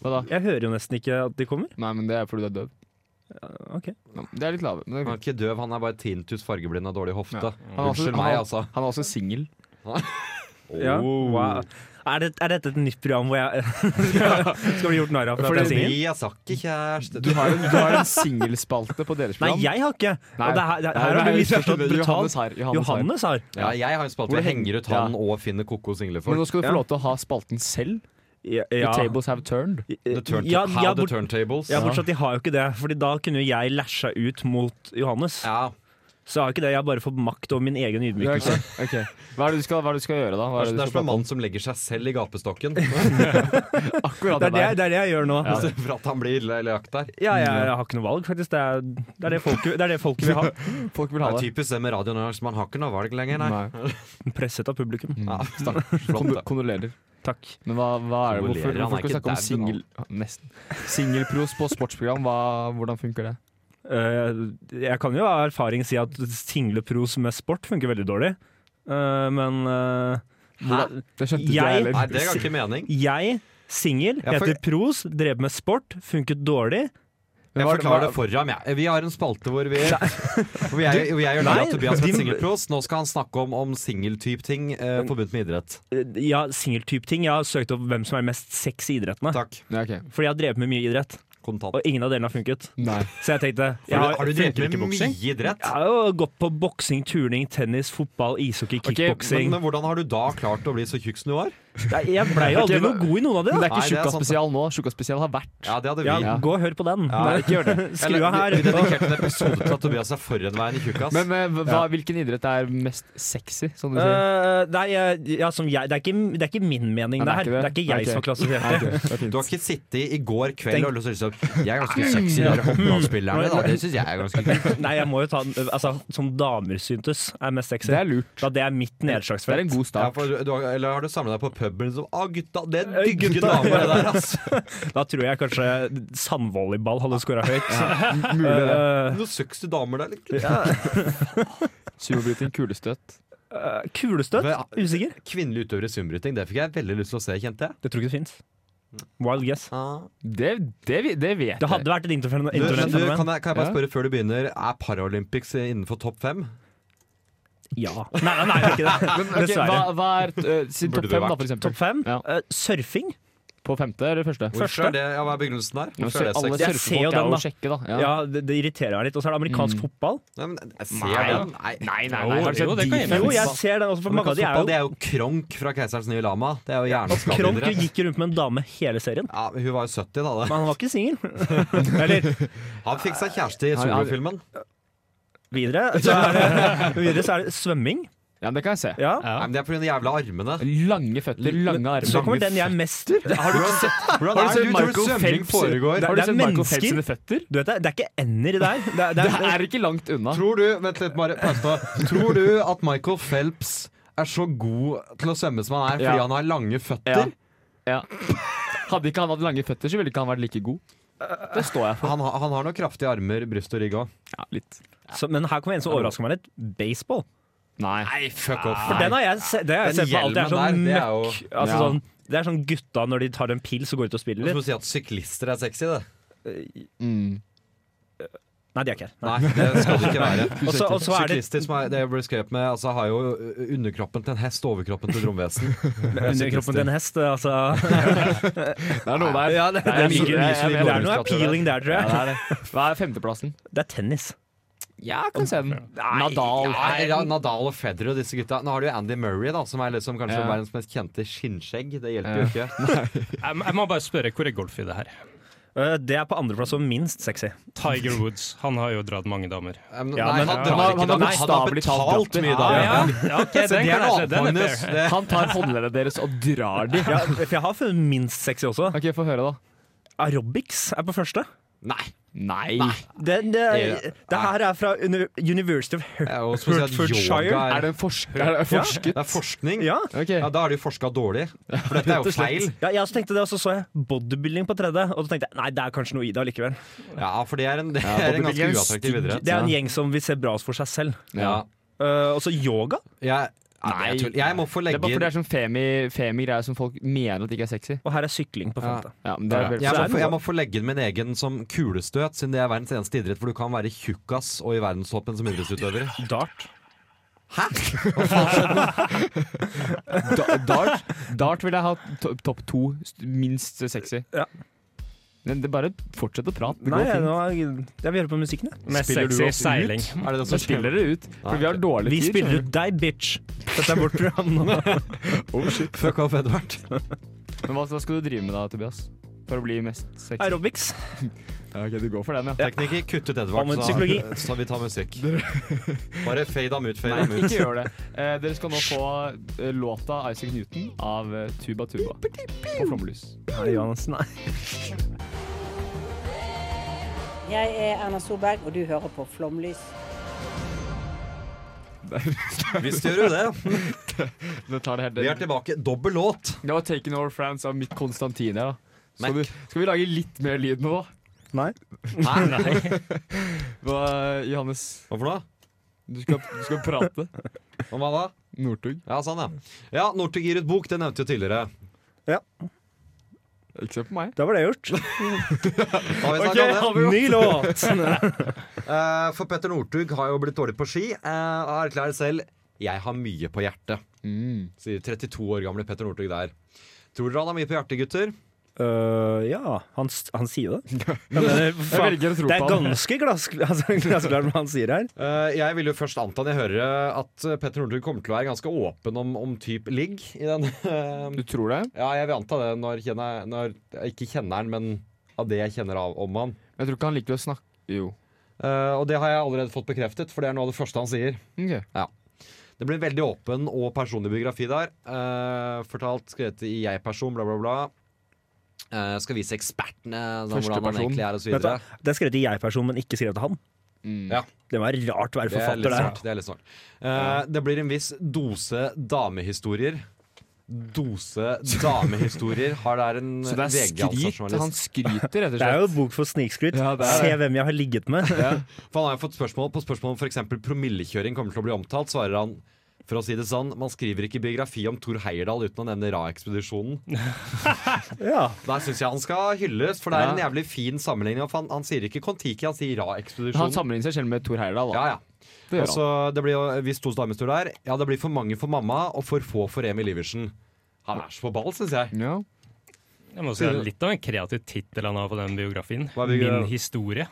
Hva da? Jeg hører jo nesten ikke at de kommer. Nei, men det er fordi du er døv. Ok Det er litt lave. Men det Han er er greit. ikke døv, han er bare tinnitus, fargeblind og dårlig hofte. Han er også- Unnskyld meg, altså. Oh. Han er også singel. Ja. Wow. Er, det, er dette et nytt program hvor jeg skal bli gjort narr av for at jeg er singel? Fordi jeg sa ikke kjæreste Du har en, du har en singelspalte på deres Nei, program. jeg har ikke! Og Nei. det her, det, Nei, her har nei, du misforstått Johannes brutalt. har, Johannes har. Johannes har. Ja, jeg har en spalte hvor jeg henger ut han og finner koko single Men folk. nå skal du Ja. få lov til å ha spalten selv. Ja, The tables have turned. The turn ja, How ja, the bort, turntables. ja, bortsett at de har jo ikke det, Fordi da kunne jo jeg lasha ut mot Johannes. Ja. Så jeg har ikke det, jeg har bare fått makt over min egen ydmykelse. Ok. Hva er det du skal, hva er det du skal gjøre, da? Hva Det er er som det du skal en prate om? mann som legger seg selv i gapestokken. Akkurat Det det der. er det, det er det jeg gjør nå. Altså, For at han blir le- lagt der. Ja, jeg, jeg har ikke noe valg, faktisk. Det er det, er det, folket, det, er det folket vil ha. Folk vil Det ha er det. typisk det med radio nå, liksom, man har ikke noe valg lenger, nei. Presset av publikum. Ja, Kon flott, da. Mm. kondolerer. Takk. Men hva, hva er det? Hvorfor, Kondolerer, han er hvorfor skal vi ikke snakke om dau, singel... Nesten. Singelpros på sportsprogram, hva, hvordan funker det? Eh, jeg kan jo av erfaring si at singlepros med sport funker veldig dårlig, Eh, men eh, Hvordan- Det skjønte ikke Jeg- jeg heller. Nei, det ga ikke mening. jeg, singel, Ja, for- heter pros, drev med sport, funket dårlig. Jeg Men hva- forklarer hva- det for ham, jeg. Vi har en spalte hvor vi Hvor jeg, hvor jeg gjør narr av Nei, Tobias med din- singelpros. Nå skal han snakke om, om singeltype-ting eh, forbundet med idrett. Eh, Ja, singeltype-ting. Jeg har søkt opp hvem som er mest sexy i idrettene. Takk. Nei, ok. Fordi jeg har drevet med mye idrett, Kontant. og ingen av delene har funket. Nei. Så jeg tenkte jeg Har du, har du drevet funker med ikke mye boksing. idrett? Jeg har jo gått på boksing, turning, tennis, fotball, ishockey, men- Men, kickboksing. men hvordan har du da klart å bli så tjukk som du var? Nei, Jeg blei jo aldri Ok, noe god i noen av de, Men det da. Nei, det er ikke er Tjukka sant, det. spesial nå. Tjukka spesial har vært. Ja, det hadde vi. Ja, gå og hør på den. Ja. Nei, ikke gjør det. Skru av her. Vi dedikerte en episode til at Tobias er forhenværende tjukkas. Men eh, hva, hvilken idrett er mest sexy, som du sier? Eh, nei, eh, ja, som jeg, det, er ikke, det er ikke min mening, Nei, det her. Det er ikke jeg Ok. som har klassifisert det. Nei, ok, det er fint. Du har ikke sittet i går kveld Tenk- og lyst til å si Jeg er ganske sexy, dere hopplandspillerne. da. Det syns jeg er ganske kult. Nei, jeg må jo ta den, eh, altså, Som damer syntes er mest sexy. Det er lurt. Da det er mitt Det er en nedslagsfelt. god Ja, start. for du, du har, eller har du samla deg på puben som Å, gutta, det Øy, digger gutta. damer, det der, ass. Da tror jeg kanskje sandvolleyball hadde scora høyt. Eh, Noen sexy damer der, eller? Sumobryting, kulestøt. eh, kulestøt? Hva- Usikker. Kvinnelige utøvere i sumbryting, det fikk jeg veldig lyst til å se, kjente jeg. Det tror jeg ikke det fins. Wild guess. Det, det, vi- det vet jeg. Det hadde vært et interfenomen. Du, men du, kan, jeg, kan jeg bare Ja. spørre før du begynner, er Paralympics innenfor topp fem? Ja. Nei, nei, nei, det er ikke det. Men, ok, Dessverre. Hva, hva er eh, siden Burde topp det fem, da, vært. for eksempel? Topp fem. Ja. Eh, surfing. På femte eller første? Hvorfor er det, ja, Hva er begrunnelsen der? Hvorfor er det alle sexy? Jeg ser jo surfefolk er den, jo da. å sjekke, da. Ja. Ja, det, det irriterer meg litt. Og så er det amerikansk fotball. Nei, men, jeg ser den. Nei. nei, Jo, har du sett jo, det kan jeg de- gjøre. Jo, jeg ser den også, for mange av de er jo Fotball, det er jo Kronk fra 'Keiserens nye lama'. Det er jo Kronk hjerneskadede. gikk rundt med en dame hele serien. Ja, men hun var jo 70 da. Men da. han var ikke singel. Eller Han fikk seg kjæreste i solofilmen. videre så, er det, videre så er det svømming. Ja, men det kan jeg se. Ja. Nei, men Det er pga. de jævla armene. Lange føtter, lange armer. Så kommer den jeg mest Har du sett, hvordan Har er du det sett du tror Michael svømming Phelps? foregår? Det er- Har du det er sett Michael mennesker. Phelps sine føtter? du vet det, det er ikke ender i det her. Det er, det Det er, er ikke langt unna. Tror du, vent litt, bare, pause nå. tror du at Michael Phelps er så god til å svømme som han er fordi Ja. han har lange føtter? Ja. Ja. Hadde ikke han hatt lange føtter, så ville ikke han vært like god. Det står jeg for. Han, har- han har nok kraftige armer, bryst og rygg òg. Ja, litt. Så, men her kommer en som overrasker meg litt. Baseball. Nei. Nei, fuck off. For den har jeg se- det har jeg Den sett på alt. Det er sånn hjelmen der, det er jo- møkk. Altså, Ja. sånn, det er sånn gutta når de tar en pils og går ut og spiller Du må litt. si at syklister er sexy, det. Nei, de er ikke det. Nei, det skal det ikke være. Og så- og så er det- Syklister som er, det jeg ble skrevet med, altså, har jo ø, underkroppen til en hest og overkroppen til et romvesen. Underkroppen til en hest, altså. Det er noe der. Ja, det, det, Nei, er, jeg- mye, jeg- jeg- det er noe jeg- appealing der, tror Ja, jeg. det er det. Hva er femteplassen? Det er tennis. Ja, jeg kan se den. Nadal. Nei, ja, Nadal og Federer og disse gutta. Nå har du jo Andy Murray, da, som er liksom kanskje Ja. verdens mest kjente skinnskjegg. Det hjelper jo ikke. Jeg, jeg må bare spørre, hvor er golf i det her? Eh, Det er på andreplass og minst sexy. Tiger Woods, han har jo dratt mange damer. Um, Ja, nei, men- han drar ikke han han- damer. har Han har bokstavelig talt betalt glatter. mye Ah, Ja, damer. ja. Så ok, det er noe jeg se, annet, den er Magnus. fair. Det- Han tar håndleddene deres og drar de. Ja, for jeg har funnet minst sexy også. Ok, Få høre, da. Aerobics er på første. Nei. Nei. Det, det, Ja. det her er fra Uni- University of Det er jo spesielt Hertfordshire. yoga Er er, det en forsker? Er det forsket? det er forskning. Ja. Ok. Ja, Da har de jo forska dårlig. For dette er jo feil. ja, jeg også tenkte det, og så så jeg bodybuilding på tredje. Og så tenkte jeg nei, det er kanskje noe i det allikevel. Ja, for det er en, det er en ganske bodybuilding er en uattraktiv stygg- idrett. Det er en gjeng som vil se bra ut for seg selv. Ja. Eh, og så yoga. Jeg, nei, jeg, tuller. jeg må få Det legge er bare inn fordi det er sånn femi- femi-greier som folk mener at ikke er sexy. Og her er sykling på Ja. femte. Ja, men det er jeg vel må, det er få, noe. jeg må få legge inn min egen som kulestøt, siden det er verdens eneste idrett hvor du kan være tjukkas og i verdenstoppen som idrettsutøver. Dart. Da- Dart Dart ville jeg ha to- topp to st- minst sexy. Ja. Men det bare fortsett å prate. Det Nei, går fint. nå er, jeg vil høre på musikken, jeg. Mest Spiller du sexy oss ut? seiling. Er det det Så som spiller dere ut, for Nei. vi har dårlig Vi tid. spiller skjønner ut deg, bitch. Dette er vårt program nå. Fuck off, Edvard. du. Men hva, hva skal du drive med da, Tobias? For å bli mest sexy? Aerobics. Ja, ok, du går for den, ja. Tekniker, kutt ut Edvard, Hva med så, psykologi? så vi tar musikk. Bare fade ham ut, fade Nei, ham ut. ikke gjør det. Eh, dere skal nå få eh, låta Isaac Newton av eh, Tuba Tuba på Flomlys. Nei, Johansen, nei. Jeg er Erna Solberg, og du hører på Flomlys. Visst gjør du det. Det tar det helt Vi er tilbake. Dobbel låt. Det var 'Taken Over France' av Mick Konstantin her, da. Mac. Skal, du, skal vi lage litt mer lyd nå, da? Nei. Hæ? Nei. Hva, Johannes, Hvorfor da? du skal, du skal prate. Om hva da? Northug. Ja, sånn, ja. Ja, Northug gir ut bok, det nevnte jo tidligere. Ikke se på meg. Da var det gjort. Da har vi Ok, snakket om det. har vi gjort- Ny låt! Eh, for Petter Northug har jo blitt dårlig på ski, eh, og erklærer selv 'jeg har mye på hjertet'. Mm. Sier 32 år gamle Petter Northug der. Tror dere han har mye på hjertet, gutter? Øh, ja, han, s- han sier det. eh, Jeg velger å tro Det er på han. ganske glass, altså, glassklart hva han sier her. Eh, jeg vil jo først anta når jeg hører at eh, Petter Northug kommer til å være ganske åpen om, om typ ligg. I den, eh, Du tror det? ja, jeg vil anta det når, kjenner, når jeg ikke kjenner han, men av det jeg kjenner av om han. Jeg tror ikke han liker å snakke Jo. Eh, og det har jeg allerede fått bekreftet, for det er noe av det første han sier. Ok. Det blir en veldig åpen og personlig biografi der. Eh, fortalt, skrevet i jeg-person, bla, bla, bla. Eh, skal vise ekspertene sånn, Første hvordan man person. egentlig er, og så Vet du videre. hva? Det er skrevet til jeg-person, men ikke skrevet til han. Mm. Ja. Det må være rart å være Det er litt forfatter der. snart. Det, er litt snart. Eh, det blir en viss dose damehistorier. Dose damehistorier har der en Så det er skryt? Han VG-journalist. skryter, rett og Det er slett. jo et bok for snikskryt. Ja, det er Se det. hvem jeg har ligget med. For han har jo fått spørsmål på spørsmål om f.eks. promillekjøring kommer til å bli omtalt, svarer han for å si det sånn, man skriver ikke biografi om Thor Heyerdahl uten å nevne Ra-ekspedisjonen. Ja. Der syns jeg han skal hylles, for det er en Ja. jævlig fin sammenligning. og Han, han sier ikke Kon-Tiki, han sier Han Ra-ekspedisjonen. sammenligner seg selv med Thor Heyerdahl. da. Ja, ja. Det gjør Og så det blir jo Hvis to damer står der Ja, det blir for mange for mamma og for få for Emil Iversen. Han er så på ball, syns jeg. han. Ja. Jeg må si det er Litt av en kreativ tittel han har på den biografien. Hva er biogra- Min historie.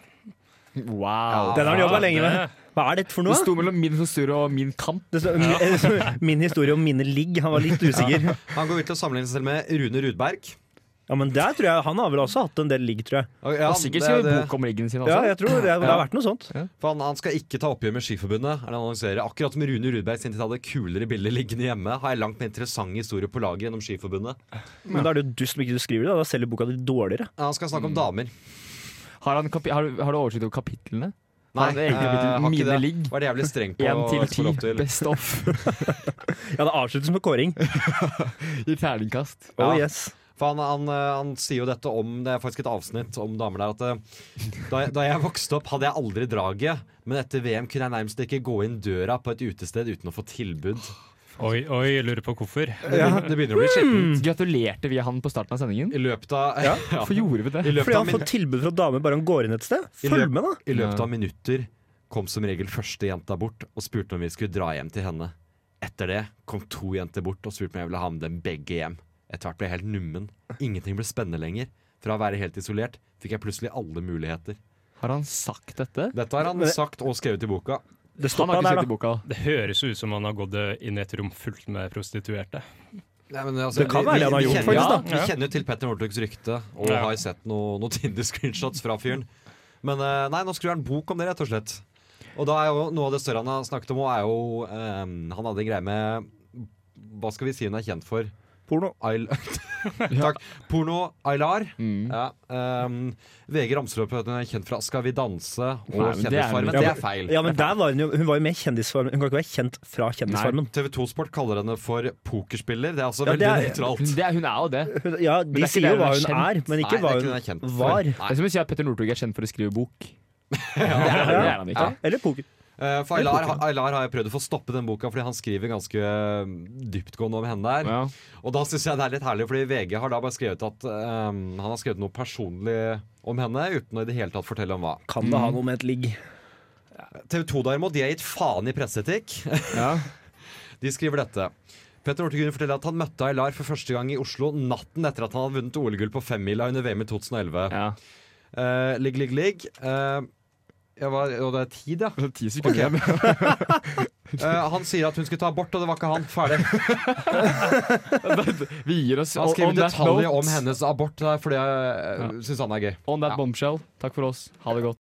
Wow. Den har han jobba Ja, lenge med. Hva er dette for noe? Det da? sto mellom min historie og min kamp. Det står- min- Min historie om mine ligg. Han var litt usikker. Han går ut til å sammenligne seg selv med Rune Rudberg. Ja, men der tror jeg Han har vel også hatt en del ligg, tror jeg. Og ja, Han har sikkert det er skrevet det. bok om riggen sin også. Ja, jeg tror det, det har vært noe sånt. For han, han skal ikke ta oppgjør med Skiforbundet. Er det han annonserer Akkurat som Rune Rudberg sin tid hadde kulere bilder liggende hjemme, har jeg langt mer interessante historier på lager gjennom Skiforbundet. Men da er det jo dust om ikke du skriver det. Da selger boka di dårligere. Ja, Han skal snakke Mm. om damer. Har, han kapi har, har du oversikt over kapitlene? Nei, Har han eget eh, kapittel? har ikke Mine det. ligg. Var det jævlig streng på Én til å få lov ti. til. Best of. Ja, det avsluttes med kåring. I terningkast. Oh Ja. yes. For han, han, eh, han sier jo dette om Det er faktisk et avsnitt om damer der. At eh, da, jeg- da jeg vokste opp, hadde jeg aldri draget. Men etter VM kunne jeg nærmest ikke gå inn døra på et utested uten å få tilbud. Oi, oi, lurer på hvorfor. Det, begynner- det begynner å bli skittent. Gratulerte vi han på starten av sendingen? I løpet av Hmm. Ja, Hvorfor gjorde vi det? I løpet Fordi av han min- får tilbud fra damer bare han går inn et sted. I Følg løp- med, da! I løpet av minutter kom som regel første jenta bort og spurte om vi skulle dra hjem til henne. Etter det kom to jenter bort og spurte om jeg ville ha med dem begge hjem. Etter hvert ble jeg helt nummen. Ingenting ble spennende lenger. Fra å være helt isolert fikk jeg plutselig alle muligheter. Har han sagt dette? Dette har han Men- sagt og skrevet i boka. Det Han har ikke skrevet i boka. Det høres jo ut som han har gått eh, inn i et rom fullt med prostituerte. Nei, men altså, Det kan vi- være vi- han har vi gjort, kjenner- faktisk, ja, da. Vi kjenner jo til Petter Northugs rykte, og Ja. har sett noe- noen Tinder-screenshots fra fyren. Men eh, nei, nå skriver han bok om det, rett og slett. Og da er jo noe av det større han har snakket om, og er jo eh, Han hadde en greie med Hva skal vi si hun er kjent for? Porno. Takk. Porno Aylar. Mm. Ja, ehm, VG ramser opp at hun er kjent fra Skal vi danse og Nei, men det er- Kjendisfarmen. Ja, Det er men- feil. Ja, men der var hun, jo, hun var jo med i Kjendisfarmen. Hun kan ikke være kjent fra Kjendisfarmen. TV 2 Sport kaller henne for pokerspiller. Det er altså Ja, veldig det er- nøytralt. Det er, hun er jo det. Hun- ja, de Men det er ikke sier det jo hva er hun kjent. er, men ikke hva hun var. Det er som å si at Petter Northug er kjent for å skrive bok. Ja, det er han ikke. Eller poker. Eh, For Eller Aylar, poker. Aylar har jeg prøvd å få stoppe den boka, fordi han skriver ganske eh, dyptgående om henne der. Og da syns jeg det er litt herlig, fordi VG har da bare skrevet at eh, han har skrevet noe personlig om henne, uten å i det hele tatt fortelle om hva. Kan det ha noe med et ligg? TV 2 derimot, de har gitt faen i presseetikk. De skriver dette. Petter Northug forteller at han møtte Aylar for første gang i Oslo natten etter at han hadde vunnet OL-gull på femmila under VM i 2011. Eh, ligg, ligg, ligg. Eh, ja, hva, og det er tid, ja? Ti sekunder Eh, han sier at hun skulle ta abort, og det var ikke han. Ferdig. Vi gir oss Han skriver on that detaljer note. om hennes abort der, fordi jeg ja. syns han eh, er gøy. On that bombshell. Takk for oss. Ha det godt.